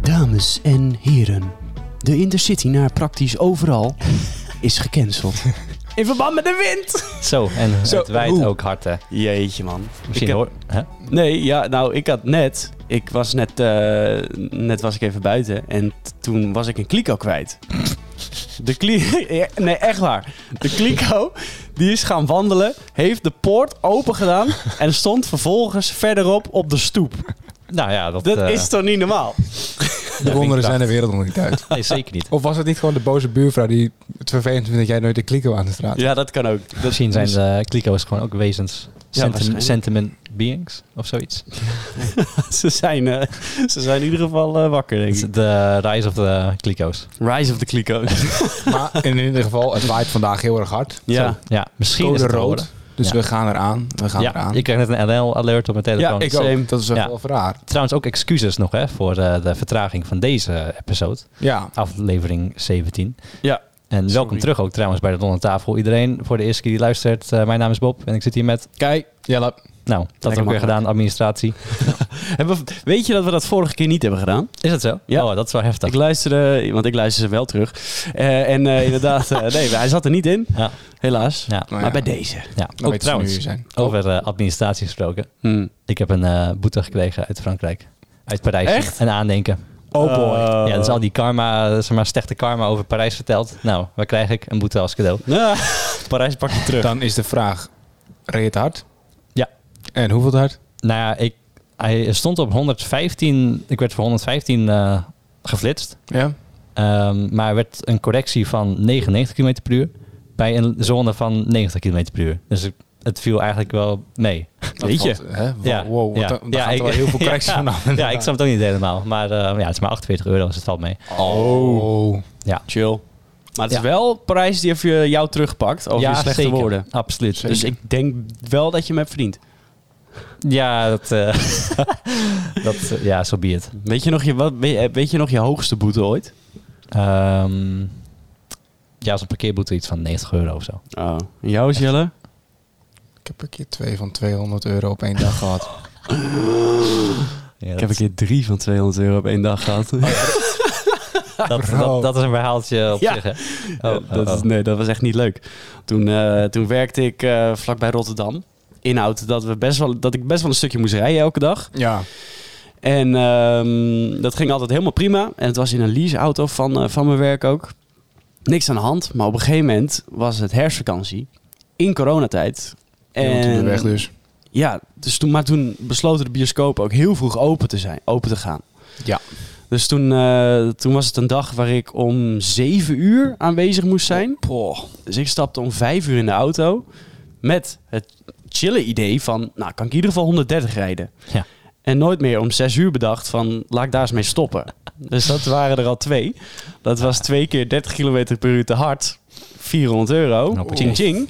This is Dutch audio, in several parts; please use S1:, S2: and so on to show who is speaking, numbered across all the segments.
S1: Dames en heren, de Intercity naar praktisch overal is gecanceld. In verband met de wind!
S2: Zo, en
S1: Zo,
S2: het wijd
S1: hoe?
S2: ook hard, hè?
S1: Jeetje man.
S2: Misschien
S1: heb-
S2: hoor... Hè?
S1: Nee, ja, nou ik had net, ik was net, eh, net was ik even buiten en t- toen was ik een kliko kwijt. De kli- Ja, nee echt waar. De kliko, die is gaan wandelen, heeft de poort open gedaan en stond vervolgens verderop op de stoep.
S2: Nou ja, dat,
S1: Dat
S2: eh,
S1: is toch niet normaal?
S2: vind
S3: De
S2: ik
S3: wonderen zijn
S2: prachtig.
S3: de wereld nog niet uit.
S2: Nee, zeker niet.
S3: Of was het niet gewoon de boze buurvrouw die het vervelend vindt dat jij nooit de kliko aan de straat
S1: Ja, dat kan ook. Dat
S2: Misschien zijn de kliko's gewoon ook wezens. Sentiment,
S1: Dus- waarschijnlijk.
S2: sentiment beings of zoiets.
S1: ze, zijn, eh, ze zijn in ieder geval eh, wakker, denk ik.
S2: De rise of de kliko's.
S1: Rise of the Kliko's.
S3: Maar in ieder geval, het waait vandaag heel erg hard.
S1: ja.
S2: Ja, misschien is
S3: Code
S2: het te
S3: rood.
S2: horen.
S3: Dus
S2: Ja.
S3: we gaan eraan. We gaan
S2: Ja,
S3: eraan.
S2: ik krijg net een NL-alert op mijn telefoon.
S1: Ja, ik
S3: Zo,
S1: Same.
S3: dat is echt
S2: Ja.
S3: wel raar.
S2: Trouwens ook excuses nog hè, voor eh, de vertraging van deze episode.
S3: Ja.
S2: Aflevering 17.
S1: Ja.
S2: En welkom
S1: Sorry.
S2: terug ook trouwens bij de Donner Tafel. Iedereen voor de eerste keer die luistert. eh, mijn naam is Bob en ik zit hier met...
S3: Kijk, Jelle.
S2: Nou, dat hebben we ook weer
S1: makkelijk.
S2: gedaan, administratie.
S1: Hebben we- weet je dat we dat vorige keer niet hebben gedaan?
S2: Is dat zo?
S1: Ja.
S2: Oh, dat is wel heftig.
S1: Ik luisterde, want ik luister ze wel terug. Eh, en eh, inderdaad, eh, nee, hij zat er niet in.
S2: Ja.
S1: Helaas.
S2: Ja,
S3: Nou
S1: Maar
S3: ja.
S1: bij deze.
S2: ja.
S3: Dan
S2: ook
S3: weet je hoe
S2: trouwens,
S3: jullie zijn.
S2: over eh, administratie gesproken.
S1: Hmm.
S2: Ik heb een eh, boete gekregen uit Frankrijk. Uit Parijs.
S1: Echt?
S2: Een aandenken.
S1: Oh boy.
S2: Ja, dus al die karma, eh, zeg maar, slechte karma over Parijs verteld. Nou, waar krijg ik? Een boete als cadeau.
S1: Ja, Parijs pakt het terug.
S3: Dan is de vraag, reed het hard?
S2: Ja.
S3: En hoeveel het hard?
S2: Nou ja, ik, hij stond op 115. Ik werd voor 115 eh, geflitst.
S3: Ja.
S2: Ehm, maar er werd een correctie van 99 km per uur. Bij een zone van 90 km per uur. Dus ik- het viel eigenlijk wel mee.
S3: Dat
S1: Weet je.
S3: valt, hè? Wow,
S2: Ja.
S3: wow,
S2: Ja.
S3: wat- daar
S2: Ja,
S3: gaat
S2: ik-
S3: er wel heel veel
S2: Ja.
S3: correcties vanaf.
S2: Ja, ik snap het ook niet helemaal. Maar eh, ja, het is maar 48 euro, dus het valt mee.
S3: Oh.
S1: Chill. Maar het is
S2: Ja.
S1: wel Parijs die heeft je- jou terugpakt over
S2: ja,
S1: je slechte
S2: zeker.
S1: woorden.
S2: Absoluut.
S3: Zeker.
S1: Dus ik denk wel dat je hem hebt verdiend.
S2: Ja, dat, eh, dat eh, ja, zo so be it.
S1: Weet je nog je, wat, weet, weet je, nog je hoogste boete ooit?
S2: Ehm, ja, als een parkeerboete iets van 90 euro of zo.
S1: Oh. En jou, Jelle?
S3: Ik heb een keer twee van 200 euro op één dag gehad.
S1: Ik
S2: Ja, dat,
S1: heb een keer drie van 200 euro op één dag gehad.
S2: dat, dat, dat is een verhaaltje op
S1: Ja.
S2: zich. hè?
S1: Ja,
S2: Oh, oh,
S1: Eh, dat is,
S2: oh.
S1: nee, dat was echt niet leuk. Toen, eh, toen werkte ik eh, vlakbij Rotterdam. Inhoud dat, we best wel, dat ik best wel een stukje moest rijden elke dag.
S3: Ja.
S1: En ehm, dat ging altijd helemaal prima. En het was in een leaseauto van, eh, van mijn werk ook. Niks aan de hand. Maar op een gegeven moment was het herfstvakantie. In coronatijd.
S3: En... weg dus.
S1: Ja, dus toen, maar toen besloten de bioscopen ook heel vroeg open te, zijn, open te gaan.
S3: Ja.
S1: Dus toen, eh, toen was het een dag waar ik om 7 uur aanwezig moest zijn. Dus ik stapte om 5 uur in de auto met het chille idee van, nou kan ik in ieder geval 130 rijden.
S2: Ja.
S1: En nooit meer om 6 uur bedacht van, laat ik daar eens mee stoppen. dus dat waren er al twee. Dat was twee keer 30 km per uur te hard. 400 euro.
S2: Hoppakee.
S1: Ching ching.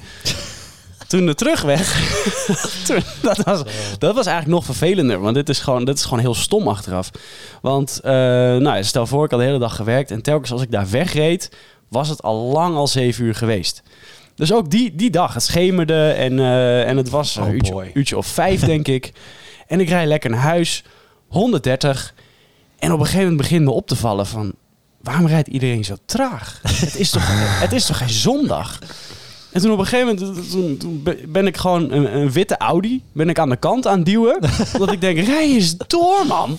S1: Toen de terugweg. toen, dat, was, dat was eigenlijk nog vervelender. Want dit is gewoon, dit is gewoon heel stom achteraf. Want eh, nou, stel voor, ik had de hele dag gewerkt. En telkens als ik daar wegreed, was het al lang al zeven uur geweest. Dus ook die, die dag, het schemerde en, eh, en het was een
S3: Oh
S1: uurtje,
S3: boy.
S1: uurtje of vijf, denk ik. En ik rijd lekker naar huis, 130. En op een gegeven moment begint me op te vallen van... waarom rijdt iedereen zo traag? het, is toch, het is toch geen zondag? En toen op een gegeven moment toen, toen be- ben ik gewoon een, een witte Audi ben ik aan de kant aan het duwen. omdat ik denk, rij eens door man.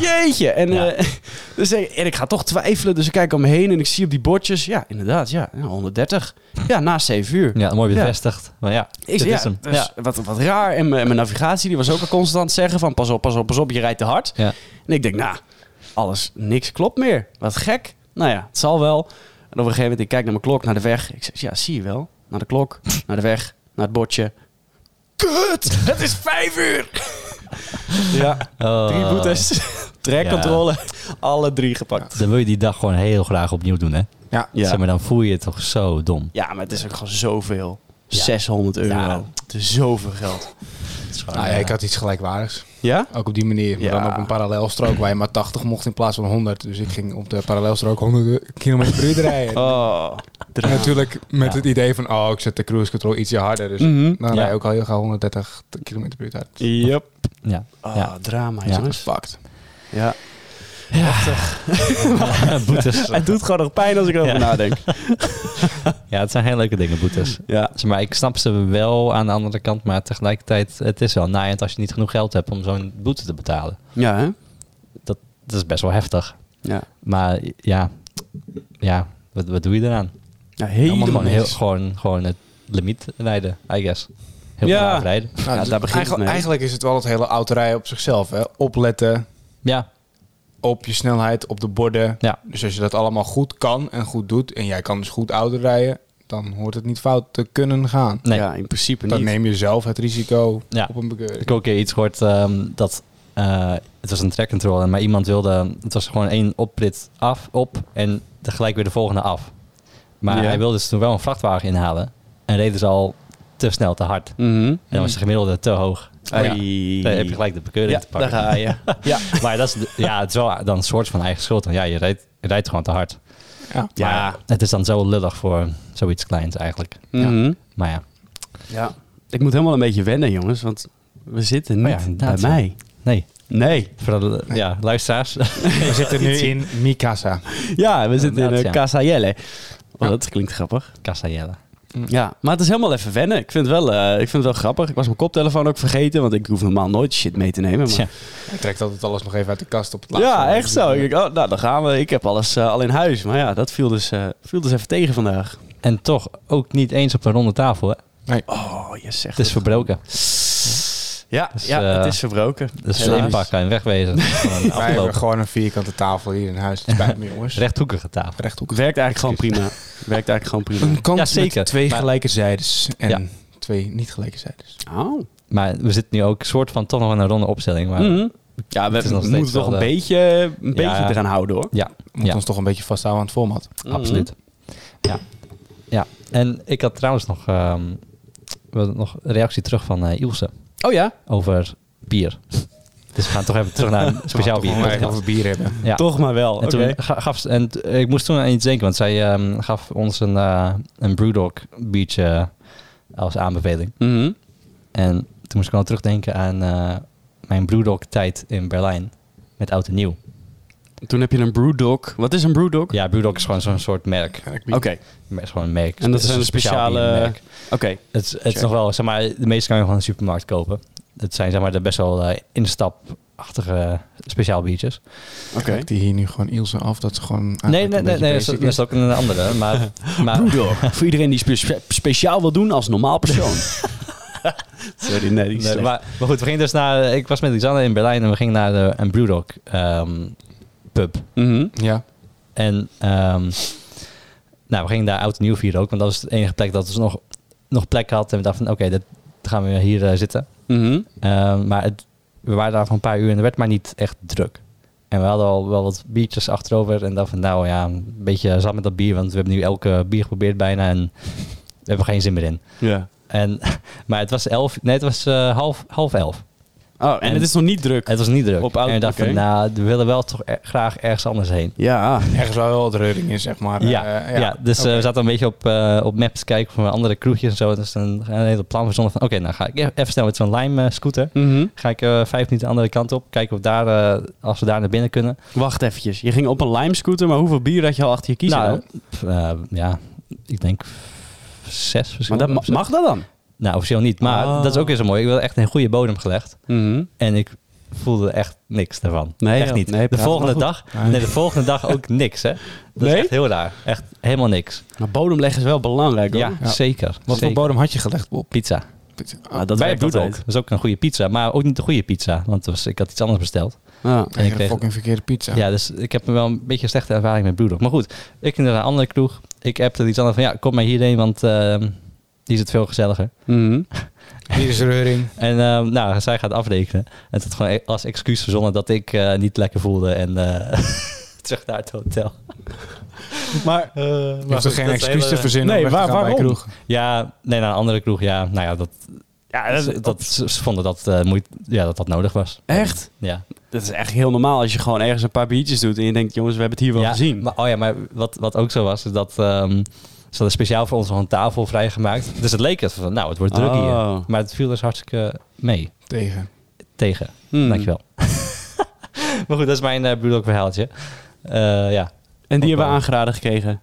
S1: Jeetje. En,
S2: Ja.
S1: eh, dus ik, en ik ga toch twijfelen. Dus ik kijk om me heen en ik zie op die bordjes. Ja, inderdaad. Ja, ja, 130. Ja, na 7 uur.
S2: Ja, mooi
S1: Ja.
S2: bevestigd. Maar ja,
S1: Ik
S2: dit
S1: zei,
S2: is
S1: ja, dus
S2: hem.
S1: dat is Wat, wat raar. En mijn, mijn navigatie die was ook al constant zeggen van pas op, pas op, pas op, je rijdt te hard.
S2: Ja.
S1: En ik denk, nou, alles, niks klopt meer. Wat gek. Nou ja, het zal wel. En op een gegeven moment, ik kijk naar mijn klok, naar de weg. Ik zeg, ja, zie je wel. Naar de klok, naar de weg, naar het bordje. Kut, het is vijf uur. ja,
S2: Ja.
S1: drie
S2: Oh.
S1: boetes, trekcontrole, alle drie gepakt.
S2: Dan wil je die dag gewoon heel graag opnieuw doen, hè?
S3: Ja.
S1: Ja.
S2: Zeg maar, dan voel je je toch zo dom.
S1: Ja, maar het is ook gewoon zoveel.
S2: Ja.
S1: 600 euro.
S2: Ja.
S1: Het is zoveel geld.
S3: Nou ja, ik had iets gelijkwaardigs.
S1: Ja?
S3: Ook op die manier. Maar
S1: Ah, Ja.
S3: dan op een parallelstrook waar je maar 80 mocht in plaats van 100. Dus ik ging op de parallelstrook 100 km per uur rijden.
S1: Oh,
S3: En Natuurlijk met
S2: Ja.
S3: het idee van, oh, ik zet de cruise control ietsje harder. Dus
S1: Mhm.
S3: dan
S2: Ja.
S3: rij je ook al heel gauw 130 km per uur uit.
S1: Yep.
S2: Ja.
S1: Ah,
S2: Ja.
S1: drama,
S2: Ja.
S1: jongens.
S3: Fucked.
S1: Ja.
S2: boetes.
S1: Het doet gewoon nog pijn als ik erover
S2: Ja.
S1: nadenk.
S2: Ja, het zijn heel leuke dingen, boetes.
S1: Ja.
S2: Zeg Maar ik snap ze wel aan de andere kant, maar tegelijkertijd, het is wel naaiend als je niet genoeg geld hebt om zo'n boete te betalen.
S1: Ja, hè?
S2: Dat is best wel heftig.
S1: Ja.
S2: Maar ja, ja wat, wat doe je eraan?
S1: ja helemaal
S2: Gewoon,
S1: niet.
S2: heel, gewoon, gewoon het limiet rijden, I guess. Heel
S1: Ja.
S2: braaf rijden.
S3: Nou,
S1: Ja,
S3: dus
S1: daar begint het
S3: eigenlijk,
S1: mee.
S3: eigenlijk is het wel het hele autorijden op zichzelf. Hè? Opletten
S2: Ja,
S3: op je snelheid, op de borden.
S2: Ja.
S3: Dus als je dat allemaal goed kan en goed doet... en jij kan dus goed autorijden... dan hoort het niet fout te kunnen gaan.
S2: nee.
S1: Ja, in principe
S3: Dan
S1: niet.
S3: neem je zelf het risico
S2: Ja.
S3: op een bekeuring.
S2: Ik heb ook een keer iets gehoord ehm, dat eh, het was een track control, maar iemand wilde, het was gewoon één oprit af, op en tegelijk weer de volgende af. Maar
S1: Ja.
S2: hij wilde dus toen wel een vrachtwagen inhalen en reed dus al te snel, te hard. En
S1: Mhm.
S2: dan was de gemiddelde te hoog.
S1: Ai.
S2: Oh Ja. Dan heb je gelijk de bekeuring
S1: Ja,
S2: te
S1: daar
S2: pakken.
S1: ga je. ja.
S2: Maar dat is, de- ja, het is wel dan een soort van eigen schuld. Want ja, je rijdt, je rijdt gewoon te hard.
S3: Ja.
S1: Ja.
S2: Maar het is dan zo lullig voor zoiets kleins eigenlijk. ja.
S1: Mhm.
S2: Maar ja,
S1: Ja. Ik moet helemaal een beetje wennen, jongens, want we zitten
S2: Oh
S1: niet
S2: ja,
S1: bij
S2: inderdaad,
S1: mij.
S2: nee.
S1: Nee.
S2: Voor de, ja, luisteraars.
S3: We zitten nu in Mikasa.
S1: Ja, we zitten in
S2: Inderdaad,
S1: uh,
S2: ja.
S1: Casa Jelle. Oh,
S3: Ja.
S1: dat klinkt grappig.
S2: Casayella. Hm.
S1: Ja, maar het is helemaal even wennen. Ik vind het wel, eh, ik vind het wel grappig. Ik was mijn koptelefoon ook vergeten, want ik hoef normaal nooit shit mee te nemen. Maar...
S2: Tja.
S3: Hij trekt altijd alles nog even uit de kast op het laatste
S1: Ja,
S3: moment.
S1: echt zo. Ik denk, oh, nou, dan gaan we. Ik heb alles eh, al in huis. Maar ja, dat viel dus, eh, viel dus even tegen vandaag.
S2: En toch ook niet eens op een ronde tafel. Hè?
S1: Oh, je zegt
S2: Het is verbroken.
S1: Ja,
S2: Dus,
S1: ja
S2: eh,
S1: het is eh, verbroken.
S2: Dus
S1: Helaas.
S2: slim pakken en wegwezen. Gewoon een
S3: Wij hebben
S2: afgelopen.
S3: gewoon een vierkante tafel hier in huis. Het spijt me, jongens.
S2: Rechthoekige tafel.
S3: Rechthoek.
S1: Werkt eigenlijk gewoon prima. Werkt eigenlijk gewoon prima.
S3: Een kant
S2: Ja, zeker.
S3: met twee
S2: Maar-
S3: gelijke zijdes en
S2: Ja.
S3: twee niet gelijke zijdes.
S1: Oh.
S2: Maar we zitten nu ook soort van toch nog in een ronde opstelling. Maar
S1: Mhm. Ja,
S2: Het
S1: we
S2: is nog
S1: moeten
S2: steeds
S1: toch
S2: wel
S1: een
S2: de-
S1: beetje, een
S2: Ja.
S1: beetje eraan houden hoor.
S2: ja,
S3: We moeten
S2: Ja. Oh,
S3: ons toch een beetje vasthouden aan het format.
S1: Mhm.
S2: absoluut. Ja. ja, en ik had trouwens nog, ehm, we hadden nog een reactie terug van eh, Ilse
S1: Oh ja,
S2: over bier. Dus we gaan toch even terug naar een speciaal
S3: We gaan
S2: bier.
S3: toch wel even over bier hebben.
S2: Ja.
S1: toch maar wel.
S2: En
S1: Oké.
S2: toen ga- gaf ze, en t- ik moest toen aan iets denken, want zij ehm, gaf ons een, eh, een Brewdog biertje eh, als aanbeveling.
S1: Mhm.
S2: En toen moest ik wel terugdenken aan eh, mijn Brewdog tijd in Berlijn met oud en nieuw.
S1: Toen heb je een brewdog. Wat is een brewdog?
S2: Ja, Brewdog is gewoon zo'n soort merk.
S1: Oké,
S2: Het is gewoon een merk.
S1: En dat
S2: Het
S1: zijn
S2: een
S1: de
S2: speciaal
S1: speciale-
S2: biermerk.
S1: oké.
S2: Het, is- het is nog wel, zeg maar, de meeste kan je gewoon in de supermarkt kopen. Het zijn zeg maar de best wel eh, instapachtige eh, speciaal biertjes.
S1: Ah, Oké.
S3: Kijkt die hier nu gewoon Ilse af dat ze gewoon eigenlijk
S2: Nee, nee,
S3: een
S2: nee,
S3: beetje
S2: nee, dat is-
S3: basic
S2: dat is ook een andere. Maar, maar
S1: Brewdog. Voor iedereen die spe- speciaal wil doen als normaal persoon. Sorry, nee, die is
S2: Nee,
S1: slecht.
S2: maar, maar goed, we gingen dus naar. Ik was met Lisanne in Berlijn en we gingen naar de, een Brewdog ehm, pub.
S1: Mhm.
S3: Ja,
S2: En ehm, nou, we gingen daar oud en nieuw vieren ook, want dat was de enige plek dat dus nog, nog plek had. En we dachten: van, oké, dat gaan we hier eh, zitten.
S1: Mhm.
S2: Ehm, maar het, we waren daar voor een paar uur en er werd maar niet echt druk. En we hadden al wel wat biertjes achterover en dachten: van, nou ja, een beetje zat met dat bier, want we hebben nu elke bier geprobeerd bijna en we hebben geen zin meer in.
S1: Ja.
S2: En, maar het was elf, nee, het was eh, half, half elf.
S1: Oh, en,
S2: En-
S1: het is nog niet druk.
S2: Het was niet druk.
S1: Op auto,
S2: en ik dacht van,
S1: oké.
S2: nou, we willen wel toch er- graag ergens anders heen.
S1: Ja.
S3: ergens waar wel wat reuring is, zeg maar.
S2: ja,
S3: Eh,
S2: ja. dus eh,
S3: Oké.
S2: we zaten een beetje op, eh, op maps te kijken van andere kroegjes en zo. Dus dan een hele plan verzonnen van, oké, nou ga ik e- even snel met zo'n Lime eh, scooter.
S1: Mhm.
S2: Ga ik eh, vijf minuten de andere kant op, kijken of daar, eh, als we daar naar binnen kunnen.
S1: Wacht eventjes. Je ging op een lime scooter, maar hoeveel bier had je al achter je kiezen?
S2: nou, pff, eh, ja, ik denk f- zes
S1: maar
S2: verschillende.
S1: dat ma-
S2: of zo.
S1: mag dat dan?
S2: Nou, officieel niet, maar
S1: Ah.
S2: dat is ook weer zo mooi. Ik wil echt een goede bodem gelegd.
S1: Mhm.
S2: En ik voelde echt niks daarvan.
S1: Nee,
S2: echt
S1: ja,
S2: niet.
S1: nee,
S2: de
S1: praat
S2: volgende
S1: maar
S2: dag, nee, de volgende dag ook niks, hè? Dat
S1: Nee?
S2: is echt heel raar. Echt helemaal niks.
S1: Maar bodemleggen is wel belangrijk, hoor.
S2: Ja,
S3: Ja.
S2: zeker.
S3: Wat voor
S2: Zeker.
S3: bodem had je gelegd, Bob?
S2: Pizza.
S1: Ah, dat
S2: Bij
S1: werkt
S2: Bloed ook.
S1: altijd.
S2: Dat is ook een goede pizza, maar ook niet de goede pizza. Want het was, ik had iets anders besteld.
S1: Ja.
S3: En ik
S2: kreeg-
S3: kreeg een fucking verkeerde pizza.
S2: Ja, dus ik heb wel een beetje een slechte ervaring met Bloedok. Maar goed, ik ging naar een andere kroeg. Ik appte iets anders van, ja, kom maar hierheen, want ehm, hier is het veel gezelliger.
S1: Mhm.
S3: Hier is reuring.
S2: En ehm, nou, zij gaat afrekenen. En het had gewoon e- als excuus verzonnen dat ik eh, niet lekker voelde en eh, terug naar het hotel.
S1: Maar
S3: Je hoeft er
S2: goed,
S3: geen
S2: dat is
S3: excuus te
S2: hele-
S3: verzinnen
S1: Nee,
S3: om weg te
S1: waar-
S3: gaan bij een
S1: waarom?
S3: kroeg.
S2: Ja, nee, naar een andere kroeg, ja. Nou ja, dat,
S1: ja, dat,
S2: ze- dat, ze ze vonden dat, eh, moeit, ja, dat dat nodig was.
S1: echt?
S2: Ja.
S1: Dat is echt heel normaal als je gewoon ergens een paar biertjes doet en je denkt, jongens, we hebben het hier wel
S2: ja,
S1: gezien.
S2: Maar, oh ja, maar wat, wat ook zo was, is dat ehm, ze hadden speciaal voor ons nog een tafel vrijgemaakt. Dus het leek het van, nou, het wordt druk hier.
S1: Oh.
S2: Maar het viel dus hartstikke mee.
S3: Tegen.
S2: Tegen.
S1: Hmm.
S2: Dankjewel. Maar goed, dat is mijn eh bloedlok verhaaltje. Eh, ja.
S1: En die hebben we
S2: Hoppa.
S1: aangeraden gekregen.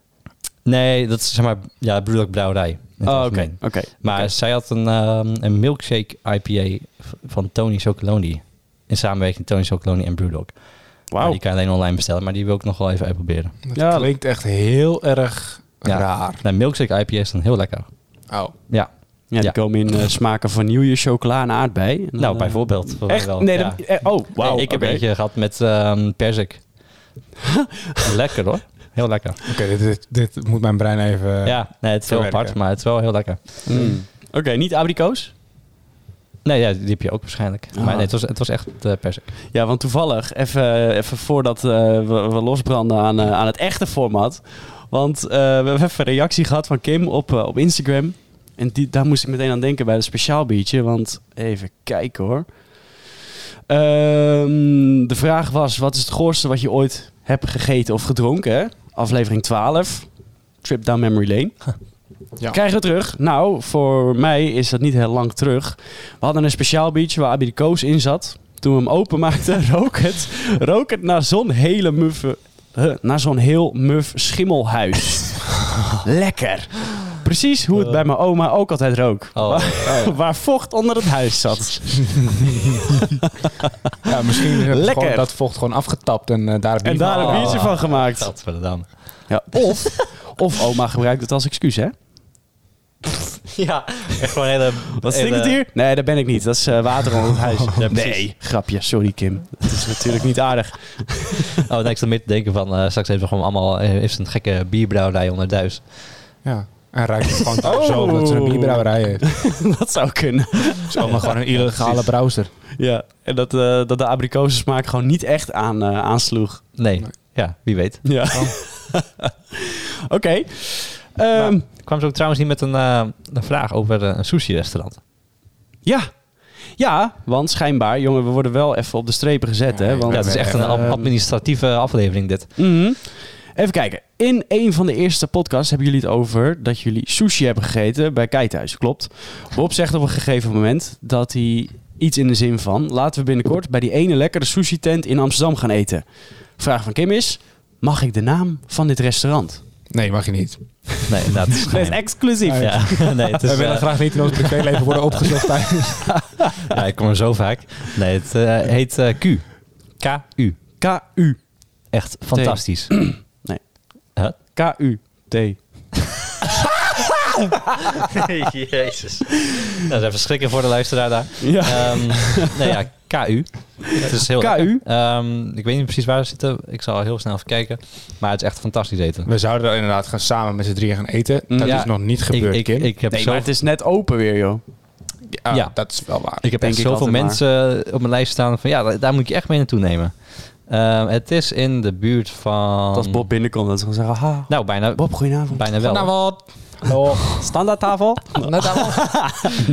S2: Nee, dat is zeg maar ja, bloedlok brouwerij. in het
S1: Oh, oké.
S2: algemeen.
S1: oké.
S2: Maar
S1: Oké.
S2: zij had een, ehm, een milkshake IPA v- van Tony Chocolonely. In samenwerking Tony Chocolonely en Brewdog. Nou,
S1: Wauw.
S2: die kan je alleen online bestellen, maar die wil ik nog wel even uitproberen.
S3: Dat
S1: Ja, dat-
S3: klinkt echt heel erg
S2: Ja.
S3: raar.
S2: Nou, milkshake IPA is dan heel lekker.
S3: Oh,
S2: Ja,
S1: Ja, die
S2: Ja.
S1: komen in eh, smaken van nieuwje, chocola en aardbei. En dan,
S2: nou
S1: eh,
S2: bijvoorbeeld. voor mij
S1: Echt?
S2: wel,
S1: nee,
S2: ja.
S1: dat- eh, oh, wauw.
S2: Nee, ik heb
S1: oké.
S2: eentje gehad met ehm persik. lekker hoor. Heel lekker.
S3: oké, dit, dit, dit moet mijn brein even...
S2: ja, nee, het is heel
S3: verwerken.
S2: apart, maar het is wel heel lekker.
S1: Mm. Oké, niet abrikoos?
S2: Nee, ja, die heb je ook waarschijnlijk.
S1: Ah.
S2: Maar nee, het was, het was echt eh persik.
S1: Ja, want toevallig, even, even voordat eh, we, we losbranden aan, eh, aan het echte format. Want eh, we hebben even een reactie gehad van Kim op, eh, op Instagram. En die, daar moest ik meteen aan denken bij het speciaal biertje. Want even kijken hoor. Ehm, de vraag was, wat is het goorste wat je ooit hebt gegeten of gedronken? hè? Aflevering 12, Trip Down Memory Lane.
S3: Ja.
S1: Krijgen we terug? Nou, voor mij is dat niet heel lang terug. We hadden een speciaal biertje waar Abirico's in zat. Toen we hem openmaakten, rook het, rook het naar zo'n hele muffe... huh, naar zo'n heel muf schimmelhuis. Lekker. Precies hoe het bij mijn oma ook altijd rook.
S2: Eh. Oh.
S1: Waar, waar vocht onder het huis zat.
S3: Ja, misschien hebben ze
S1: Lekker.
S3: gewoon dat vocht gewoon afgetapt en eh, daar heb je
S1: En daar
S2: Oh.
S1: een biertje van gemaakt.
S2: Dat voor dan.
S1: Ja, of, of oma gebruikt het als excuus, hè?
S2: Ja, echt gewoon hele...
S1: Wat stinkt het hier? Eh, Nee, daar ben ik niet. Dat is eh, water onder het huis. nee, grapje. Sorry, Kim. Dat is natuurlijk niet aardig.
S2: Oh, nee, ik zat meer te denken van, eh, straks heeft ze gewoon allemaal eh, heeft ze een gekke bierbrouwerij onder thuis.
S3: Ja. En ruikt het gewoon thuis
S1: Oh.
S3: zo omdat ze een bierbrouwerij heeft.
S1: dat zou kunnen.
S3: Zomaar gewoon een illegale brouwster.
S1: Ja, en dat, eh, dat de abrikozensmaak gewoon niet echt aan, eh, aansloeg. Oh.
S2: Nee.
S3: Nee.
S2: Ja, wie weet.
S1: Ja. Oké. Ehm,
S2: Maar kwam ze ook trouwens niet met een, eh, een vraag over eh, een sushi-restaurant.
S1: ja. Ja, want schijnbaar, jongen, we worden wel even op de strepen gezet,
S3: Ja,
S1: hè?
S3: ik
S1: Want,
S2: Ja, het is echt een
S1: Ehm,
S2: ab- administratieve aflevering dit.
S1: Mhm. Even kijken. In een van de eerste podcasts hebben jullie het over dat jullie sushi hebben gegeten bij Kai thuis. Klopt. Bob zegt op een gegeven moment dat hij iets in de zin van... laten we binnenkort bij die ene lekkere sushi tent in Amsterdam gaan eten. Vraag van Kim is, mag ik de naam van dit restaurant?
S3: Nee, mag je niet.
S2: Nee, inderdaad. het is
S1: Dat is
S2: geheim.
S1: exclusief.
S2: Ja, nee, het is,
S3: We willen
S2: eh,
S3: graag niet in ons privéleven worden opgezocht tijdens...
S2: ja, ik kom er zo vaak. Nee, het eh, heet eh, Q. K-U.
S1: K-U.
S2: Echt fantastisch.
S1: Nee.
S2: Huh?
S1: K-U-T.
S2: Jezus. Nou, Dat is even schrikken voor de luisteraar daar.
S1: Ja.
S2: Ehm nee, ja, KU. Het is heel
S1: KU?
S2: lekker. Ehm, ik weet niet precies waar ze zitten. Ik zal heel snel even kijken. Maar het is echt fantastisch eten.
S3: We zouden er inderdaad gaan samen met z'n drieën gaan eten.
S1: Mm,
S3: Dat
S2: ja.
S3: is nog niet gebeurd,
S2: ik, ik,
S3: Kim.
S2: ik heb,
S1: Nee,
S2: zo,
S1: maar het is net open weer, joh.
S3: ja,
S2: ja.
S3: dat is wel waar.
S2: ik heb
S1: denk
S2: echt
S1: ik
S2: zoveel
S1: altijd maar.
S2: mensen eh, op mijn lijst staan van ja, daar- daar moet je echt mee naartoe nemen. Ehm, het is in de buurt van...
S1: Als Bob binnenkomt, dan zal zeggen... Ha,
S2: Nou, bijna,
S1: Bob, goedenavond.
S2: bijna wel.
S3: wat. Hallo.
S1: Standaardtafel?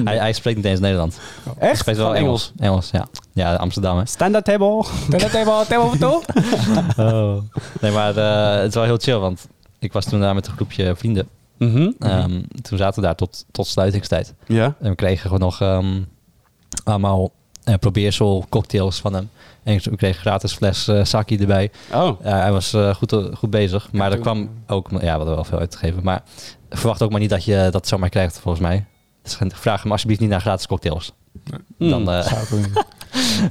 S2: Hij, hij spreekt niet eens Nederlands. Hij
S1: Echt?
S2: spreekt wel
S1: Van
S2: Engels. Engels, ja. Ja, Amsterdam, hè.
S1: Standaardtafel.
S2: Oh. Nee, maar eh, het is wel heel chill, want ik was toen daar met een groepje vrienden.
S1: Mhm.
S2: Ehm, Toen zaten we daar tot, tot sluitingstijd.
S1: Ja.
S2: En we kregen gewoon nog ehm, allemaal eh, probeersel cocktails van hem. En we kregen gratis fles eh, sake erbij.
S1: Oh.
S2: Ja, hij was eh, goed, goed bezig. Maar er
S3: toen-
S2: kwam ook... Ja, we hadden wel veel uitgegeven. Maar verwacht ook maar niet dat je dat zomaar krijgt, volgens mij. Dus vraag hem alsjeblieft niet naar gratis cocktails. Dan, eh,
S3: Zou ik doen.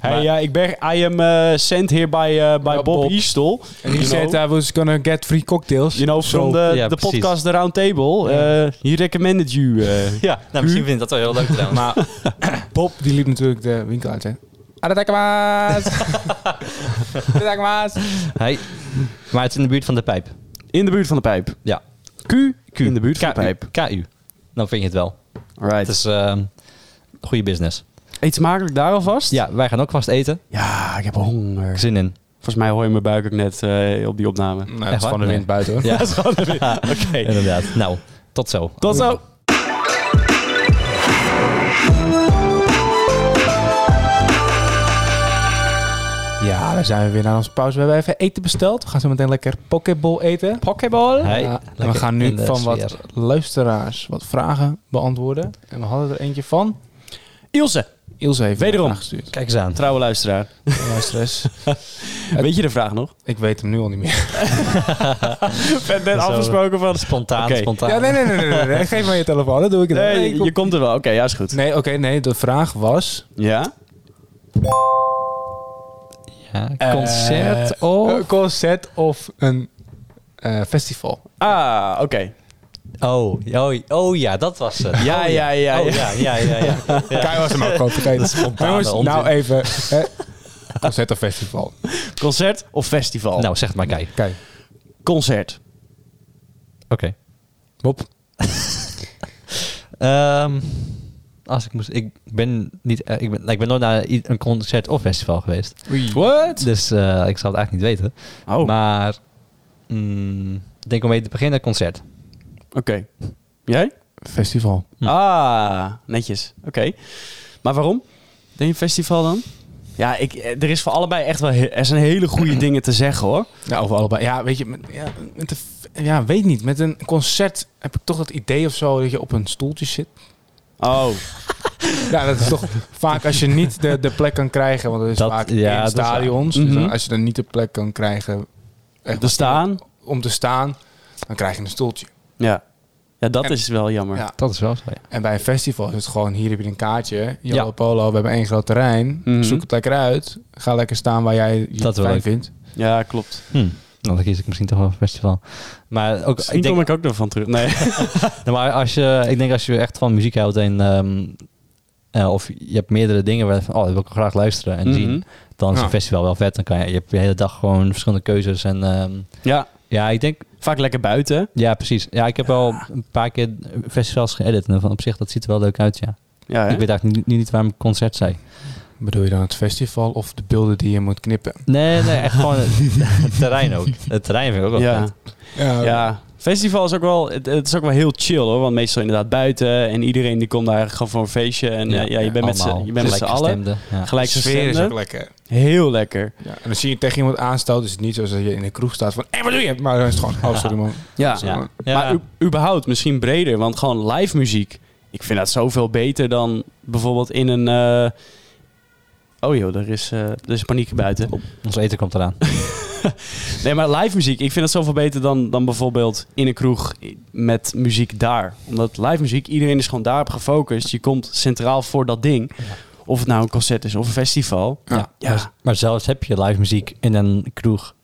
S1: Hey, ja, ik ben, I am eh, sent here by, eh, by
S3: Ja,
S1: Bob,
S3: Bob.
S1: Eastol.
S3: En die
S1: You
S3: said
S1: know.
S3: I was gonna get free cocktails.
S1: You know, from
S3: So-
S1: the,
S2: Ja,
S1: the
S2: precies.
S1: podcast The Round Table. Eh, he recommended you. eh.
S2: ja, nou, misschien vindt dat wel heel leuk trouwens.
S3: Maar Bob, die liep natuurlijk de winkel uit, hè? Ah, Adekwaas! Adekwaas!
S2: Hey. Maar het is in de buurt van de pijp.
S1: in de buurt van de pijp.
S2: Ja.
S1: Q, Q. In de buurt van de
S2: KU.
S1: pijp.
S2: KU. Dan vind je het wel. Het
S1: Right.
S2: is ehm goede business.
S1: Eet smakelijk daar alvast?
S2: Ja, wij gaan ook vast eten.
S1: Ja, ik heb honger.
S2: Zin in.
S1: Volgens mij hoor je mijn buik ook net eh, op die opname.
S3: Nou, het
S2: Echt
S3: is
S2: waar?
S3: gewoon de wind
S2: Nee.
S3: buiten, hoor.
S2: Ja.
S1: Dat is gewoon de wind. Oké.
S2: Inderdaad. Nou, tot zo.
S1: Tot zo.
S3: Ja, daar zijn we weer naar onze pauze. We hebben even eten besteld. We gaan zo meteen lekker pokeball eten.
S1: Pokeball.
S2: Hey,
S3: Ja, en we
S2: lekker
S3: gaan
S2: in
S3: nu
S2: de
S3: van wat
S2: sfeer.
S3: luisteraars wat vragen beantwoorden. En we hadden er eentje van
S1: Ilse.
S3: Ilse heeft
S1: Wederom.
S3: hem gestuurd.
S2: Kijk eens aan.
S1: Trouwe luisteraar.
S3: Luisteres.
S1: Weet je de vraag nog?
S3: Ik weet hem nu al niet meer.
S1: Vet net
S2: Zo.
S1: afgesproken van...
S2: Spontaan,
S1: Oké.
S2: spontaan.
S3: Ja, nee, nee, nee, nee, nee, nee. Geef maar je telefoon, dat doe ik het wel.
S1: Nee,
S3: ik kom-
S1: je komt er wel. Oké, ja, is goed.
S3: Nee, oké, nee. De vraag was...
S1: Ja?
S2: Ja, concert
S3: eh,
S2: of...
S3: Een concert of een eh, festival.
S1: Ah, oké.
S2: Oh, oh, oh ja, dat was het.
S1: Ja,
S2: Oh,
S1: ja, ja,
S2: Oh, ja, ja, ja, ja. Ja.
S3: Kai was hem ook gewoon vergeten.
S2: spontane
S3: Jongens,
S2: onzin.
S3: nou even. Hè? Concert of festival.
S1: Concert of festival?
S2: Nou, zeg het maar, Kai.
S3: Kijk,
S1: Concert.
S2: Oké.
S3: Bob.
S2: Ehm, als ik moest... Ik ben, niet, eh, ik ben, ik ben nooit naar i- een concert of festival geweest.
S1: What?
S2: Dus eh, ik zal het eigenlijk niet weten.
S1: Oh, oké.
S2: Maar... mm, ik denk om mee te beginnen, concert.
S1: Jij?
S3: Festival.
S2: Hm.
S1: Ah, netjes. Oké. Maar waarom? Denk je festival dan? Ja, ik, eh, er is voor allebei echt wel... he- Er zijn hele goede dingen te zeggen, hoor.
S3: Ja, over allebei. Ja, weet je, met, ja, met een f- ja, weet niet. Met een concert heb ik toch dat idee of zo dat je op een stoeltje zit.
S1: Oh,
S3: Ja, dat is toch vaak als je niet de, de plek kan krijgen, want dat is
S2: Dat-
S3: vaak
S2: ja, dat
S3: in
S2: is
S3: stadions. Dus
S1: waar. Mhm.
S3: dan- als je dan niet de plek kan krijgen echt
S1: te staan?
S3: om te staan, dan krijg je een stoeltje.
S1: Ja. Ja, dat
S3: En-
S1: is wel jammer.
S3: Ja.
S2: Dat is wel zo, ja.
S3: En bij een festival is het gewoon, hier heb je een kaartje. Jolo
S2: Ja.
S3: Polo, we hebben één groot terrein.
S1: Mhm.
S3: Zoek het lekker uit. Ga lekker staan waar jij je
S2: Dat wil
S3: fijn
S2: ik.
S3: vindt.
S1: Ja, klopt.
S2: Hm. Nou, dan kies ik misschien toch wel een festival. Maar ook,
S1: Hmm. Misschien
S2: ik denk,
S1: kom ik ook nog van terug. Nee.
S2: Nou, maar als je, ik denk als je echt van muziek houdt en ehm, eh, of je hebt meerdere dingen waar je van, oh, dat wil ik graag luisteren en
S1: Mhm.
S2: zien, dan is
S3: Ja.
S2: een festival wel vet. Dan kan je, je hebt de hele dag gewoon verschillende keuzes en ehm,
S1: Ja,
S2: ja, ik denk,
S1: vaak lekker buiten.
S2: ja, precies. Ja, ik heb wel een paar keer festivals geëdit en van op zich dat ziet er wel leuk uit, ja.
S1: Ja, hè?
S2: Ik weet eigenlijk niet, niet waarom ik concert zei.
S3: Bedoel je dan het festival of de beelden die je moet knippen?
S2: Nee, nee, echt gewoon het, het terrein ook. Het terrein vind ik ook wel
S1: ja.
S2: vet.
S1: ja. Festival is ook wel, het, het is ook wel heel chill hoor. Want meestal inderdaad buiten. En iedereen die komt daar gewoon voor een feestje. En eh, ja, je bent met z'n
S2: allemaal
S1: je bent met z'n allen.
S2: gelijkgestemden, Ja.
S1: Gelijk
S3: de sfeer is ook
S1: stemmen.
S3: lekker.
S1: Heel lekker.
S3: Ja. En dan zie je tegen iemand aanstoten. Is het niet zoals dat je in de kroeg staat van... Hé, wat doe je? Maar dan is het gewoon... Oh, sorry man.
S1: Ja.
S3: Zo.
S2: Ja.
S1: Maar
S2: Ja.
S1: u- überhaupt misschien breder. Want gewoon live muziek. Ik vind dat zoveel beter dan bijvoorbeeld in een... eh, Oh joh, er is, eh, er is paniek buiten.
S2: Ons eten komt eraan.
S1: Nee, maar live muziek. Ik vind het zoveel beter dan, dan bijvoorbeeld in een kroeg met muziek daar. Omdat live muziek, iedereen is gewoon daarop gefocust. Je komt centraal voor dat ding. Of het nou een concert is of een festival.
S3: Ja.
S1: Ja,
S2: Maar zelfs heb je live muziek in een kroeg.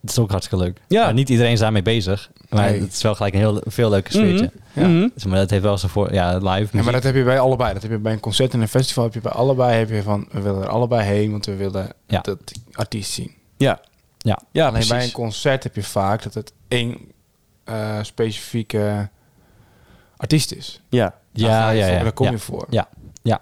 S2: Dat is ook hartstikke leuk.
S1: Ja.
S2: Maar niet iedereen is daarmee bezig. Maar
S3: Nee.
S2: het is wel gelijk een heel le- veel leuke sfeertje.
S1: Mhm. Mhm.
S2: Dus, maar dat heeft wel zijn voor... Ja, live muziek.
S3: Ja, maar dat heb je bij allebei. Dat heb je bij een concert en een festival. Heb je bij allebei heb je van... We willen er allebei heen, want we willen
S2: Ja.
S3: dat die artiest zien.
S1: ja.
S2: Ja.
S1: ja
S3: Alleen
S1: precies.
S3: bij een concert heb je vaak dat het één eh, specifieke artiest is.
S1: Ja.
S3: Daar
S2: ja,
S3: ga je
S2: ja,
S3: voor-
S2: ja.
S3: Daar kom
S2: ja.
S3: je voor.
S2: Ja. Ja.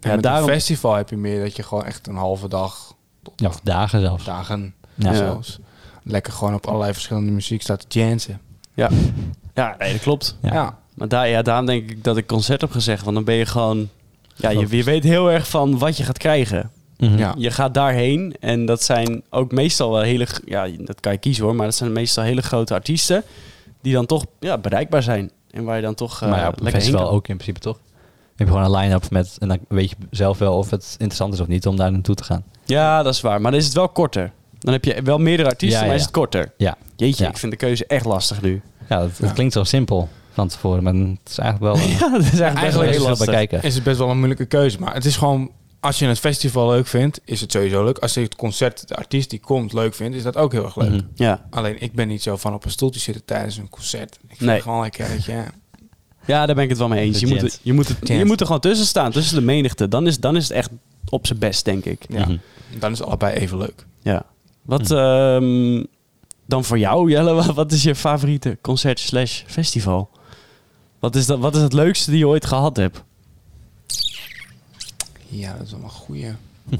S3: En
S1: Ja,
S3: met
S1: daarom-
S3: een festival heb je meer dat je gewoon echt een halve dag tot
S2: Ja,
S3: ja.
S2: of dagen zelfs.
S3: dagen
S2: Ja.
S3: zelfs. Lekker gewoon op allerlei verschillende muziek staat te jansen.
S1: Ja, nee, dat klopt.
S2: Ja.
S3: Ja.
S1: Maar daar, ja, daarom denk ik dat ik concert heb gezegd. Want dan ben je gewoon... Ja, je, je weet heel erg van wat je gaat krijgen.
S2: Mhm.
S3: Ja.
S1: Je gaat daarheen en dat zijn ook meestal wel hele... g- Ja, dat kan je kiezen hoor, maar dat zijn meestal hele grote artiesten... die dan toch ja, bereikbaar zijn. En waar je dan toch eh,
S2: maar ja, op een
S1: lekker heen kan.
S2: festival ook in principe, toch? Dan heb je gewoon een line-up met... En dan weet je zelf wel of het interessant is of niet om daar naartoe te gaan.
S1: Ja, dat is waar. Maar dan is het wel korter. Dan heb je wel meerdere artiesten,
S2: Ja, ja,
S1: maar is
S2: ja.
S1: het korter.
S2: Ja.
S1: Jeetje,
S2: Ja.
S1: ik vind de keuze echt lastig nu.
S2: Ja, dat, dat
S3: Ja.
S2: klinkt zo simpel van tevoren. Maar het is eigenlijk wel...
S1: Ja, dat is eigenlijk,
S3: best wel
S1: heel
S2: heel lastig.
S1: lastig.
S2: Bekijken.
S3: Is het best wel een moeilijke keuze. Maar het is gewoon, als je het festival leuk vindt, is het sowieso leuk. Als je het concert, de artiest die komt, leuk vindt, is dat ook heel erg leuk.
S2: Mhm.
S1: Ja.
S3: Alleen ik ben niet zo van op een stoeltje zitten tijdens een concert. Ik vind
S1: Nee.
S3: het gewoon lekker dat je...
S1: ja, daar ben ik het wel mee eens. Je
S2: De
S1: moet,
S2: gent.
S1: het- je, moet het, je
S3: Gent.
S1: moet er gewoon tussen staan, tussen de menigte. Dan is, dan is het echt op zijn best, denk ik.
S3: Ja,
S2: Mhm.
S3: dan is allebei even leuk.
S1: Ja. Wat
S2: Hm.
S1: ehm, dan voor jou, Jelle, wa- wat is je favoriete concert slash festival? Wat is, dat, wat is het leukste die je ooit gehad hebt?
S3: Ja, dat is wel een goeie. Hm.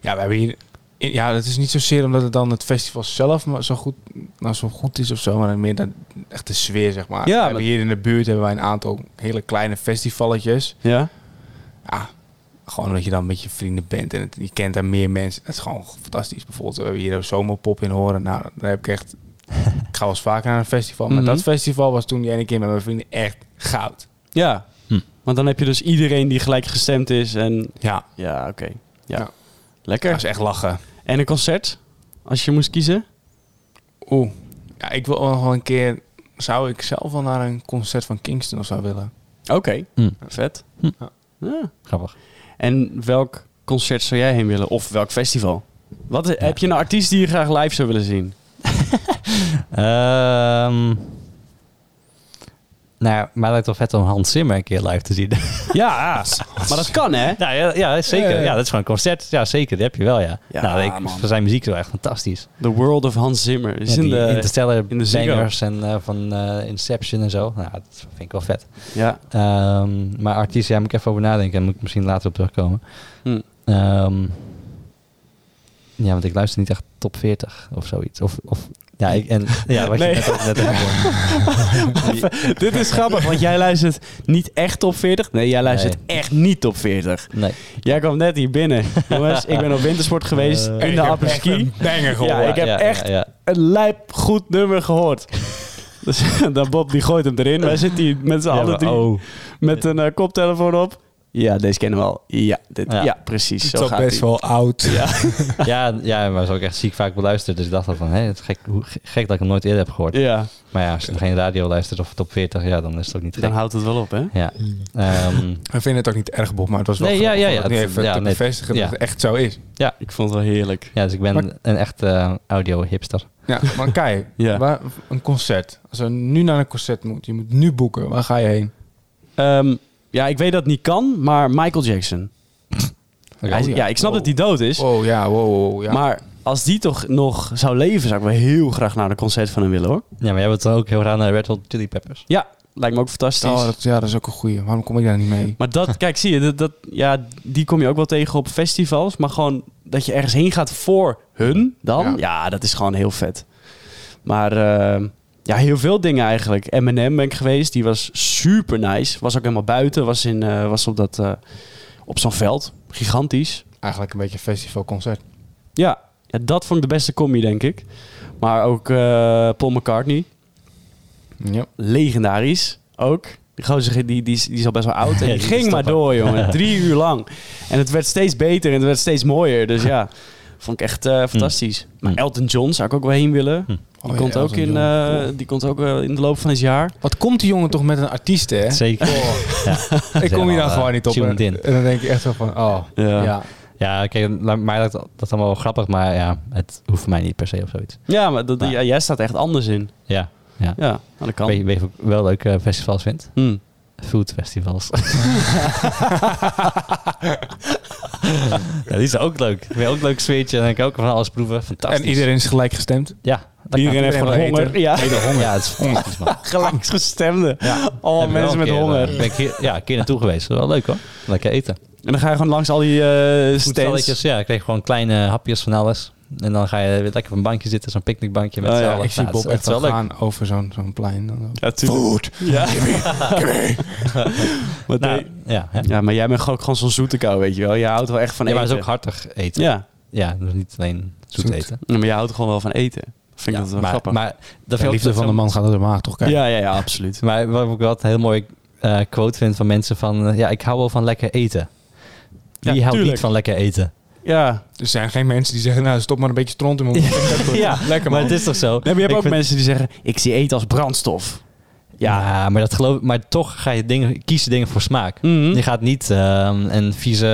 S3: Ja, we hebben hier... Ja, dat is niet zozeer omdat het dan het festival zelf maar zo goed, nou, zo goed is of zo, maar dan meer dan echt de sfeer, zeg maar.
S1: Ja,
S3: we hebben
S1: maar-
S3: hier in de buurt hebben wij een aantal hele kleine festivalletjes.
S1: Ja?
S3: Ja, gewoon omdat je dan met je vrienden bent en het, je kent daar meer mensen. Dat is gewoon fantastisch. Bijvoorbeeld, we hebben hier een zomerpop in horen. Nou, daar heb ik echt... Ik ga wel eens vaker naar een festival, maar
S1: Mhm.
S3: dat festival was toen die ene keer met mijn vrienden echt goud.
S1: Ja.
S2: Hm.
S1: Want dan heb je dus iedereen die gelijk gestemd is. En
S3: Ja,
S1: ja, oké. Ja.
S3: Ja.
S1: Lekker.
S3: dat is echt lachen.
S1: En een concert? Als je moest kiezen?
S3: Oeh. Ja, ik wil nog wel een keer... Zou ik zelf wel naar een concert van Kingston of zo willen?
S1: Oké,
S2: Hm.
S1: vet.
S2: Hm.
S1: Ja.
S2: Grappig.
S1: En welk concert zou jij heen willen? Of welk festival? Wat, Heb je een artiest die je graag live zou willen zien?
S2: Ehm nou, maar het lijkt wel vet om Hans Zimmer een keer live te zien.
S1: ja, maar dat kan hè?
S2: ja, ja, ja, zeker.
S3: Ja, ja.
S2: Ja, dat is gewoon een concert. Ja, zeker. Dat heb je wel, ja.
S1: Ja,
S2: nou, ik,
S1: man.
S2: zijn muziek is wel echt fantastisch.
S1: The World of Hans Zimmer. Die Is
S2: Ja,
S1: in
S2: die
S1: de,
S2: Interstellar
S1: in de Ziggo.
S2: bangers en eh, van eh, Inception en zo. Nou, dat vind ik wel vet.
S1: ja.
S2: Ehm, maar artiesten, ja, moet ik even over nadenken. Daar moet ik misschien later op terugkomen.
S1: Hm.
S2: Ehm, ja, want ik luister niet echt top 40 of zoiets. Of, of ja, ik, en, ja, wat
S1: Nee.
S2: je net, ook- net ook hoorde.
S1: Dit is grappig, want jij luistert niet echt top 40. Nee, jij luistert
S2: Nee.
S1: echt niet top 40.
S2: Nee.
S1: Jij kwam net hier binnen. Jongens, ik ben op wintersport geweest in
S2: Eh,
S3: Ik
S1: de
S3: heb echt
S1: apperski.
S3: een Banger gehoord.
S1: Ja, ik heb echt-
S2: Oh, Ja,
S1: Een lijp goed nummer gehoord. Dus dan Bob die gooit hem erin. Wij zitten hier met z'n
S2: Ja,
S1: allen
S2: maar-
S1: drie
S2: oh.
S1: met een eh, koptelefoon op. Ja, deze kennen we al. Ja, dit, ja.
S2: Ja.
S1: precies.
S3: Het
S1: Zo
S3: is ook
S1: gaat
S3: best
S1: die.
S3: wel oud.
S2: ja, ja, maar zo ook echt ziek vaak beluisterd. Dus ik dacht al van, hé, het is gek, hoe, gek dat ik hem nooit eerder heb gehoord.
S1: Ja,
S2: Maar ja, als je geen radio luistert of top 40, ja, dan is het ook niet
S1: dan
S2: gek.
S1: houdt het wel op, hè?
S2: Ja. Ehm,
S3: We vinden het ook niet erg, Bob, maar het was wel
S2: Nee, ja,
S3: grappig
S2: ja,
S3: om
S2: ja,
S3: het nu
S2: het-
S3: even
S2: ja,
S3: te
S2: nee,
S3: bevestigen
S2: ja.
S3: dat het echt zo is.
S1: Ik vond het wel heerlijk.
S2: ja, dus ik ben
S3: Maar-
S2: een echte eh, audio-hipster.
S3: Ja, maar kijk,
S1: Ja.
S3: waar, een concert. Als we nu naar een concert moet, je moet nu boeken. Waar ga je heen?
S1: Ehm, ja, ik weet dat het niet kan, maar Michael Jackson. Hij-
S3: ja.
S1: ja, ik snap dat hij dood is.
S3: Oh ja, wow, wow, ja.
S1: Maar als die toch nog zou leven, zou ik wel heel graag naar een concert van hem willen hoor.
S2: Ja, maar jij wordt dan ook heel raar naar Red Hot Chili Peppers.
S1: Ja, lijkt me ook fantastisch.
S3: oh, dat, ja, dat is ook een goeie. Waarom kom ik daar niet mee?
S1: Maar dat, kijk, zie je, dat, dat, ja, die kom je ook wel tegen op festivals. Maar gewoon dat je ergens heen gaat voor hun dan. Ja,
S3: Ja.
S1: dat is gewoon heel vet. Maar eh, ja, heel veel dingen eigenlijk. M&M ben ik geweest, die was super nice. Was ook helemaal buiten, was, in, eh, was op, dat, eh, op zo'n veld. Gigantisch.
S3: Eigenlijk een beetje een festivalconcert.
S1: Ja, ja, dat vond ik de beste combi, denk ik. Maar ook eh, Paul McCartney.
S3: Ja.
S1: legendarisch ook. Die gozer die, die, is- die is al best wel oud. En
S2: Ja,
S1: die
S2: die
S1: ging
S2: is
S1: maar
S2: top,
S1: door, jongen. Drie uur lang. En het werd steeds beter en het werd steeds mooier. Dus ja, vond ik echt eh, fantastisch. Maar
S2: Hm.
S1: Elton John zou ik ook wel heen willen. Die,
S3: Oh,
S1: komt,
S3: ja,
S1: ook
S3: Elton
S1: in,
S3: John.
S1: eh, die komt ook wel in de loop van het jaar.
S3: Wat komt die jongen toch met een artiest, hè?
S2: Zeker.
S1: Oh.
S2: Ja.
S3: Ik kom hier dan gewoon niet op. En,
S2: eh, tuned in.
S3: en dan denk ik echt zo van, oh, ja.
S1: ja.
S2: Ja, kijk, la- mij lijkt dat, dat allemaal wel grappig, maar ja, het hoeft voor mij niet per se of zoiets.
S1: Ja, maar dat,
S2: Ja.
S1: ja, jij staat echt anders in.
S2: Ja, ja.
S1: Ja, nou, dat kan.
S2: Weet je weet je wat ik wel leuke festivals vind?
S1: Hm.
S2: Food festivals. ja, die zijn ook leuk. Weer ook een leuk sfeertje en dan kan ik ook van alles proeven. Fantastisch.
S3: En iedereen is gelijk gestemd.
S2: Ja, dat
S1: Iedereen heeft
S3: iedereen
S1: gewoon
S3: wel
S1: honger.
S3: eten.
S1: Ja,
S2: honger. Ja, het is fantastisch, man.
S1: gelijksgestemde.
S2: Ja.
S1: Al mensen met honger.
S2: eh, ben ik hier, ja, een keer naartoe geweest. Dat was wel leuk, hoor. Lekker eten.
S1: En dan ga je gewoon langs al die eh stands.
S2: Voetballetjes, ja. Ik kreeg gewoon kleine hapjes van alles. En dan ga je weer lekker op een bankje zitten, zo'n picknickbankje met
S1: Oh
S2: z'n
S1: ja,
S2: allen.
S3: ik zie
S2: Ja, het
S3: Bob
S2: is
S3: echt
S2: wel
S3: wel
S2: leuk.
S3: gaan over zo'n zo'n plein. Dan
S1: Ja, tuurlijk. Ja. Maar
S2: Nou,
S1: nee.
S2: ja, hè.
S1: Ja, maar jij bent ook gewoon zo'n zoete kou, weet je wel. Je houdt wel echt van
S2: ja, maar
S1: eten.
S2: het is ook hartig eten.
S1: Ja,
S2: Ja, dus niet alleen zoet,
S3: Zoet.
S2: eten.
S1: Ja, maar je houdt gewoon wel van eten. Vind ik
S2: Ja,
S1: dat wel
S2: maar,
S1: grappig.
S2: Maar dat
S3: de
S2: vind ik
S3: liefde
S2: ook-
S3: van de man gaat door de maag, toch? Kijk.
S1: ja, ja, ja, absoluut.
S2: Maar wat ik wel een heel mooi eh, quote vind van mensen van... eh, ja, ik hou wel van lekker eten. Wie
S1: Ja,
S2: houdt
S1: tuurlijk.
S2: niet van lekker eten?
S1: Ja.
S3: Er zijn geen mensen die zeggen, nou stop maar een beetje stront in mijn mond.
S1: Ja.
S3: lekker
S2: Maar
S3: man.
S2: het is toch zo?
S1: Nee, maar je hebt
S2: Ik
S1: ook
S2: vind-
S1: mensen die zeggen, ik zie eten als brandstof.
S2: Ja,
S1: Ja.
S2: maar, dat geloof, maar toch ga je dingen, kiezen dingen voor smaak.
S1: Mhm.
S2: Je gaat niet ehm, een vieze,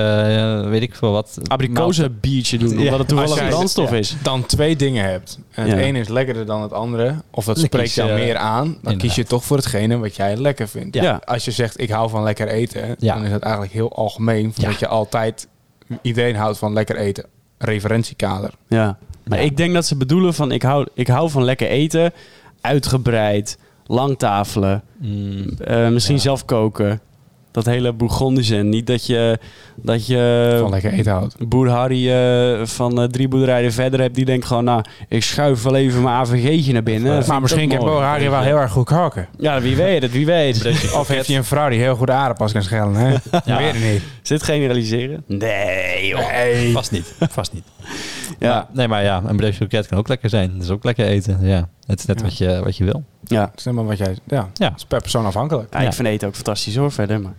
S2: eh, weet ik veel wat...
S1: Abrikozen biertje doen, omdat
S2: Ja.
S1: het toevallig
S3: Als jij-
S1: brandstof
S3: ja.
S1: is.
S3: dan twee dingen hebt. En het
S1: Ja.
S3: ene is lekkerder dan het andere. Of dat
S2: Dan
S3: spreekt
S2: kies je-
S3: jou meer aan. Dan kies je
S2: inderdaad.
S3: toch voor hetgene wat jij lekker vindt.
S1: Ja. Ja.
S3: Als je zegt ik hou van lekker eten.
S2: Ja.
S3: Dan is dat eigenlijk heel algemeen.
S2: Ja.
S3: Dat je altijd iedereen houdt van lekker eten. Referentiekader.
S1: Maar
S2: Ja.
S1: ik denk dat ze bedoelen van, ik hou, ik hou van lekker eten, uitgebreid, lang tafelen,
S2: Mm,
S1: eh, misschien
S2: Ja.
S1: zelf koken. Dat hele Bourgondische. En Niet dat je, dat je
S2: Ehm,
S3: van lekker eten houdt.
S1: boer Harry eh, van eh, drie boerderijen verder hebt, die denkt gewoon, nou, ik schuif wel even mijn AVG'tje naar binnen. Dat vind ik
S3: Maar misschien
S1: ook
S3: kan
S1: mooi.
S3: Bohari wel heel erg goed koken.
S1: Ja, wie weet het, wie weet.
S3: Of heeft hij een vrouw die heel goed aardappels kan schellen. Hè? Ik Weet het niet.
S1: Zit generaliseren? Nee, joh. nou.
S3: Nee.
S2: vast niet, vast niet.
S1: Ja.
S2: Maar- nee, maar ja, een broodje kroket kan ook lekker zijn. Dat is ook lekker eten. Ja, het is net
S3: Ja.
S2: wat, je, wat je wil.
S1: Ja.
S3: Het is helemaal wat jij... Ja,
S2: Ja.
S3: het is per persoon afhankelijk.
S1: Ja, ik
S2: Ja.
S1: vind eten ook fantastisch hoor, verder. Maar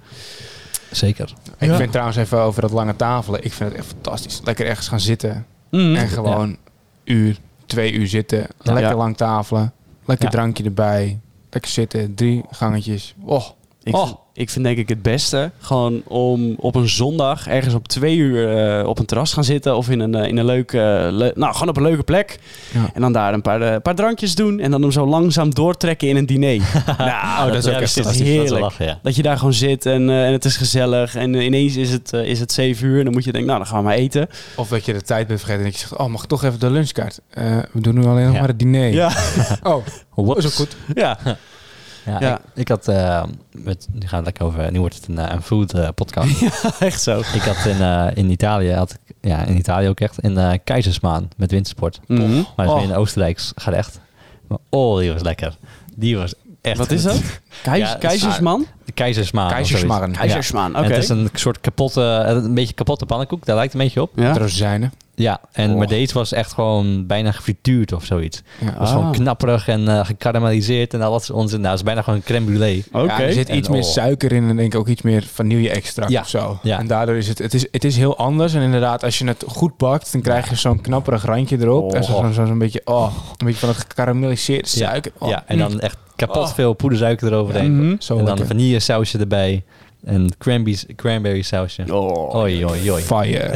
S2: Zeker.
S3: Ik
S1: Ja.
S3: vind trouwens even over dat lange tafelen. Ik vind het echt fantastisch. Lekker ergens gaan zitten.
S1: Mm.
S3: En gewoon uur, twee uur zitten.
S2: Ja.
S3: Lekker
S1: Hm? Ja.
S3: lang tafelen. Lekker
S2: Ja.
S3: drankje erbij. Lekker zitten. Drie gangetjes. Oh,
S1: ik,
S2: Oh.
S1: vind, ik vind denk ik het beste gewoon om op een zondag ergens op twee uur eh, op een terras gaan zitten. Of in een, eh, in een leuke, eh, le- nou gewoon op een leuke plek.
S3: Ja.
S1: En dan daar een paar, eh, paar drankjes doen. En dan hem zo langzaam doortrekken in een diner. nou,
S2: Oh,
S1: dat, is ook echt
S2: fantastisch. Dat is wel
S1: heerlijk.
S2: lachen, ja.
S1: Dat je daar gewoon zit en, eh, en het is gezellig. En ineens is het, eh, is het 7 uur. En dan moet je denken, nou, dan gaan we maar eten.
S3: Of dat je de tijd bent vergeten en dat je zegt, oh, mag ik toch even de lunchkaart? Eh, we doen nu alleen nog
S2: Ja.
S3: maar het diner.
S1: Ja.
S3: Oh,
S2: Whoops.
S3: is ook goed.
S1: ja.
S2: Ja,
S1: Ja.
S2: Ik, ik had... eh, met, nu gaat het lekker over... Nu wordt het een, eh, een food eh, podcast.
S1: Echt zo.
S2: ik had in, eh, in Italië... Had, ik- ja, in Italië ook echt. In eh, Keizersmaan met wintersport.
S1: Mhm.
S2: Maar dat is
S3: Oh.
S2: meer in Oostenrijk. Gaat echt... Maar oh, die was lekker. Die was echt
S1: Wat
S2: goed.
S1: is dat? Keiz-
S2: Ja,
S1: Keizersman?
S2: De Keizersmaan. of zoiets.
S3: Keizersmarren.
S2: Kei-
S1: Keizersman,
S2: En
S1: oké.
S2: het is een soort kapotte, eh, een beetje kapotte pannenkoek. Daar lijkt het een beetje op.
S1: Ja?
S3: Met rozijnen.
S2: Ja, en,
S3: Oh.
S2: maar deze was echt gewoon bijna gefrituurd of zoiets.
S3: Ja.
S2: Het was
S1: Ah.
S2: gewoon knapperig en eh gekarameliseerd en al dat soort onzin. Nou, het is bijna gewoon crème brûlée.
S1: Oké.
S3: Ja, er zit
S2: En
S3: iets meer
S2: oh.
S3: suiker in en denk ik ook iets meer vanille-extract
S2: Ja.
S3: of zo.
S2: Ja.
S3: En daardoor is het, het, is, het is heel anders. En inderdaad, als je het goed bakt, dan krijg je zo'n knapperig randje erop.
S1: Oh.
S3: En zo- zo'n zo'n beetje, oh, een beetje van het gekarameliseerd
S2: Ja,
S3: suiker. Oh.
S2: Ja, en dan echt kapot
S3: Oh.
S2: veel poedersuiker eroverheen.
S1: Mhm.
S3: Zo
S2: en dan
S3: lekker.
S2: vanille sausje erbij. En cranberry, cranberry sausje.
S1: Oh.
S2: Oi, oi, oi.
S3: Fire.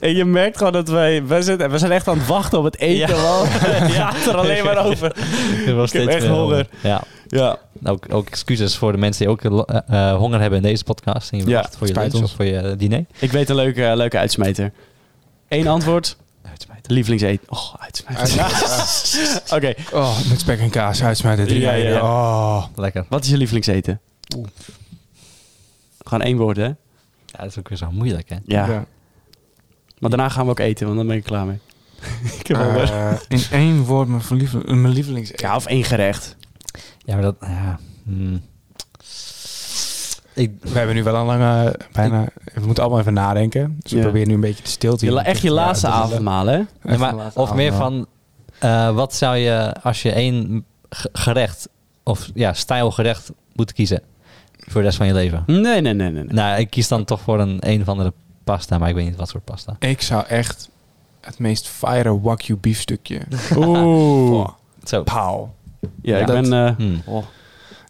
S1: en je merkt gewoon dat wij... We zijn, we zijn echt aan het wachten op het eten.
S2: Ja.
S1: Ja. Het gaat er alleen maar over.
S2: Er was
S1: Ik heb
S2: steeds
S1: echt
S2: meer
S1: honger.
S2: Ja,
S1: Ja.
S2: ook, ook excuses voor de mensen die ook eh, lo- eh, eh, honger hebben in deze podcast. En je
S1: Ja,
S2: wacht voor je
S3: spijt
S2: lunch
S3: ons.
S2: of voor je eh, diner.
S1: Ik weet een leuke, leuke uitsmijter. Eén antwoord.
S2: Oh,
S1: Lievelingseten. Oh, uitsmijter. Oké.
S3: eh, Oh, met spek en kaas, uitsmijten. Drie
S1: Ja, ja,
S3: eieren. Oh.
S2: Lekker.
S1: Wat is je lievelingseten? Gewoon één woord, hè?
S2: Ja, dat is ook weer zo moeilijk, hè?
S1: Ja.
S3: Ja.
S1: Maar daarna gaan we ook eten, want dan ben ik klaar mee. ik heb honger.
S3: Eh, in één woord mijn, verliefde- mijn lievelings...
S1: Ja, of één gerecht.
S2: Ja, maar dat... Ja, hmm. Ik,
S3: We hebben nu wel een lange, bijna, we moeten allemaal even nadenken. Dus
S1: Ja.
S3: ik probeer nu een beetje de stilte.
S1: Je,
S3: hier
S1: la- echt je
S3: Ja,
S1: laatste
S3: dat is leuk.
S1: avondmaal, hè?
S2: Nee, maar-
S3: Even de laatste
S2: of meer
S3: avondmaal.
S2: van, eh, wat zou je als je één ge- gerecht of ja, stijlgerecht moet kiezen voor de rest van je leven?
S1: Nee, nee, nee, nee. nee.
S2: Nou, ik kies dan toch voor een een of andere pasta, maar ik weet niet wat soort pasta.
S3: Ik zou echt het meest fire wagyu biefstukje.
S1: Oeh.
S3: Oh,
S2: Zo.
S3: pauw.
S1: Ja, ik
S3: Dat-
S1: ben... eh,
S2: Hmm.
S1: oh.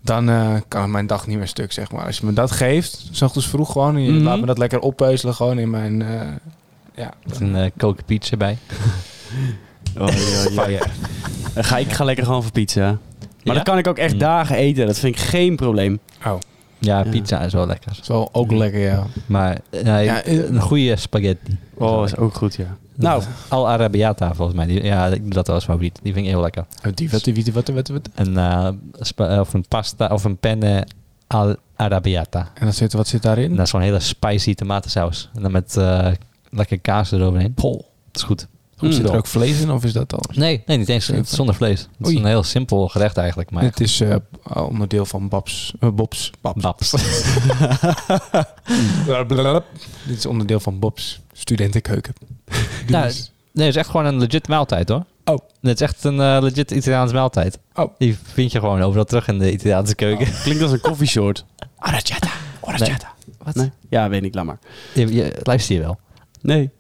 S3: Dan eh, kan mijn dag niet meer stuk, zeg maar. Als je me dat geeft, s ochtends vroeg gewoon. en je
S1: Mhm.
S3: Laat me dat lekker oppeuzelen gewoon in mijn... eh, ja,
S2: Met een eh koken pizza bij.
S1: Oh, ja, ja.
S3: fire.
S1: Dan ga ik ga lekker gewoon voor pizza. Maar
S2: Ja?
S1: dat kan ik ook echt
S2: Mm.
S1: dagen eten. Dat vind ik geen probleem.
S3: Oh,
S2: Ja,
S1: Ja.
S2: pizza is wel lekker.
S3: dat is wel ook lekker, ja.
S2: Maar eh,
S3: Ja, eh,
S2: een goede spaghetti.
S1: Oh, is ook goed, ja.
S2: Nou, Al Arabiata volgens mij. Die, ja, ik doe dat wel als favoriet. Die vind ik heel lekker.
S3: Oh, Die wat, die wat, die wat, die wat, die wat.
S2: Een, eh, spa- of een pasta of een penne al Arabiata.
S3: En dat zit, wat zit daarin?
S2: En dat is zo'n hele spicy tomatensaus. En dan met eh, lekker kaas eroverheen.
S3: Pol.
S2: Dat is goed.
S1: Mm.
S3: Zit er
S2: Zo.
S3: ook vlees in of is dat al?
S2: Nee, nee, niet eens. Het is zonder vlees. Het is
S3: Oei.
S2: een heel simpel gerecht eigenlijk. Maar
S3: Het is eh, onderdeel van Babs, eh, Bobs. Babs.
S2: babs.
S3: Blablabla. Dit is onderdeel van Bob's studentenkeuken. Die
S2: Nou,
S3: is-
S2: Nee, het is echt gewoon een legit maaltijd hoor.
S3: Oh.
S2: Het is echt een eh, legit Italiaans maaltijd.
S3: Oh.
S2: Die vind je gewoon overal terug in de Italiaanse keuken.
S1: Klinkt als een koffieshort. Araciata. Araciata.
S2: Wat?
S1: Nee? Ja, weet ik, laat maar.
S2: Je, je, luister je wel.
S1: Nee.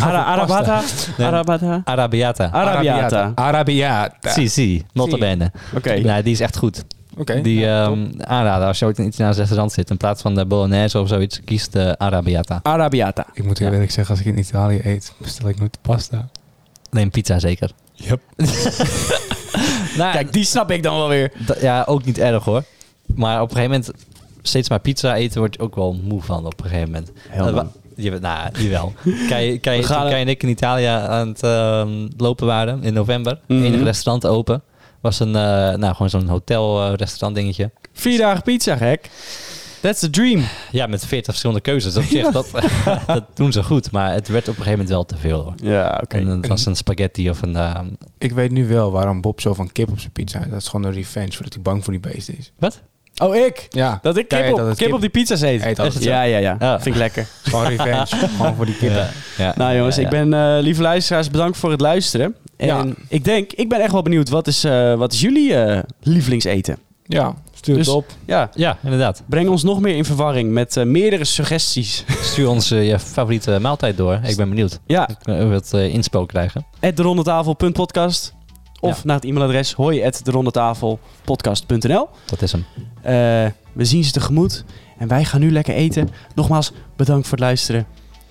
S1: Ara- Arabata.
S2: Nee.
S1: Arabata.
S2: Arabiata.
S1: Arabiata.
S3: Arabiata.
S2: Si, si. Nota
S3: Si.
S2: bene.
S1: Oké.
S2: Nou, die is echt goed.
S3: Oké.
S2: Die ehm, aanraden als je ooit in een Italiaans restaurant zit. In plaats van de bolognese of zoiets, kies de Arabiata.
S1: Arabiata.
S3: Ik moet heel
S2: Ja.
S3: eerlijk zeggen, als ik in Italië eet, bestel ik nooit pasta.
S2: Nee, een pizza zeker.
S3: Yep.
S2: Nou,
S1: Kijk, die snap ik dan wel weer.
S2: Da- ja, ook niet erg hoor. Maar op een gegeven moment, steeds maar pizza eten, word je ook wel moe van op een gegeven moment.
S1: Heel
S2: Eh, wa- je, bent- nou, jawel. Kai, Kai,
S1: We gaan
S2: toen
S1: het-
S2: Kai en ik in Italië aan het ehm, lopen waren in november.
S1: Mhm.
S2: Enig restaurant open. Was een, eh, nou gewoon zo'n hotel eh, restaurant dingetje.
S1: Vier dagen pizza, gek. That's the dream.
S2: Ja, met 40 verschillende keuzes. Op zich, dat, dat doen ze goed. Maar het werd op een gegeven moment wel te veel hoor.
S1: Ja, oké.
S2: En het was een spaghetti of een... ehm,
S3: Ik weet nu wel waarom Bob zo van kip op zijn pizza. heeft. Dat is gewoon een revenge, voordat hij bang voor die beesten is.
S2: Wat?
S1: Oh, ik?
S3: Ja.
S1: Dat ik kip,
S3: Jij eet
S1: op,
S3: altijd
S1: kip,
S3: kip.
S1: op die pizza's eet.
S3: Eet altijd
S1: Echt? ja, ja, ja,
S2: Ja.
S1: Vind ik lekker.
S3: Gewoon revenge. gewoon voor die kippen.
S2: Ja. Ja.
S1: Nou jongens,
S2: Ja,
S1: ik
S2: ja.
S1: ben, eh, lieve luisteraars, bedankt voor het luisteren. En
S3: Ja.
S1: ik denk, ik ben echt wel benieuwd, wat is, eh, wat is jullie eh, lievelingseten?
S3: Ja, stuur
S1: Dus-
S3: het op.
S1: Ja,
S2: Ja, inderdaad.
S1: breng ons nog meer in verwarring met eh, meerdere suggesties.
S2: Stuur ons eh, je favoriete maaltijd door. Ik ben benieuwd.
S1: ja,
S2: Eh, we het eh, inspo krijgen.
S1: at derondetafel.podcast of
S2: Ja.
S1: naar het e-mailadres hoi at derondetafelpodcast.nl.
S2: Dat is hem.
S1: Eh, we zien ze tegemoet en wij gaan nu lekker eten. Nogmaals, bedankt voor het luisteren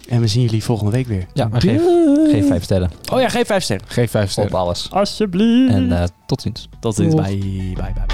S1: en we zien jullie volgende week weer.
S2: Ja, maar geef,
S1: Doei.
S2: geef vijf sterren
S1: Oh ja, geef vijf sterren.
S3: Geef vijf sterren.
S2: op alles.
S1: Alsjeblieft.
S2: En eh, tot ziens.
S1: Tot ziens.
S3: Doeg.
S1: Bye, bye, bye. bye.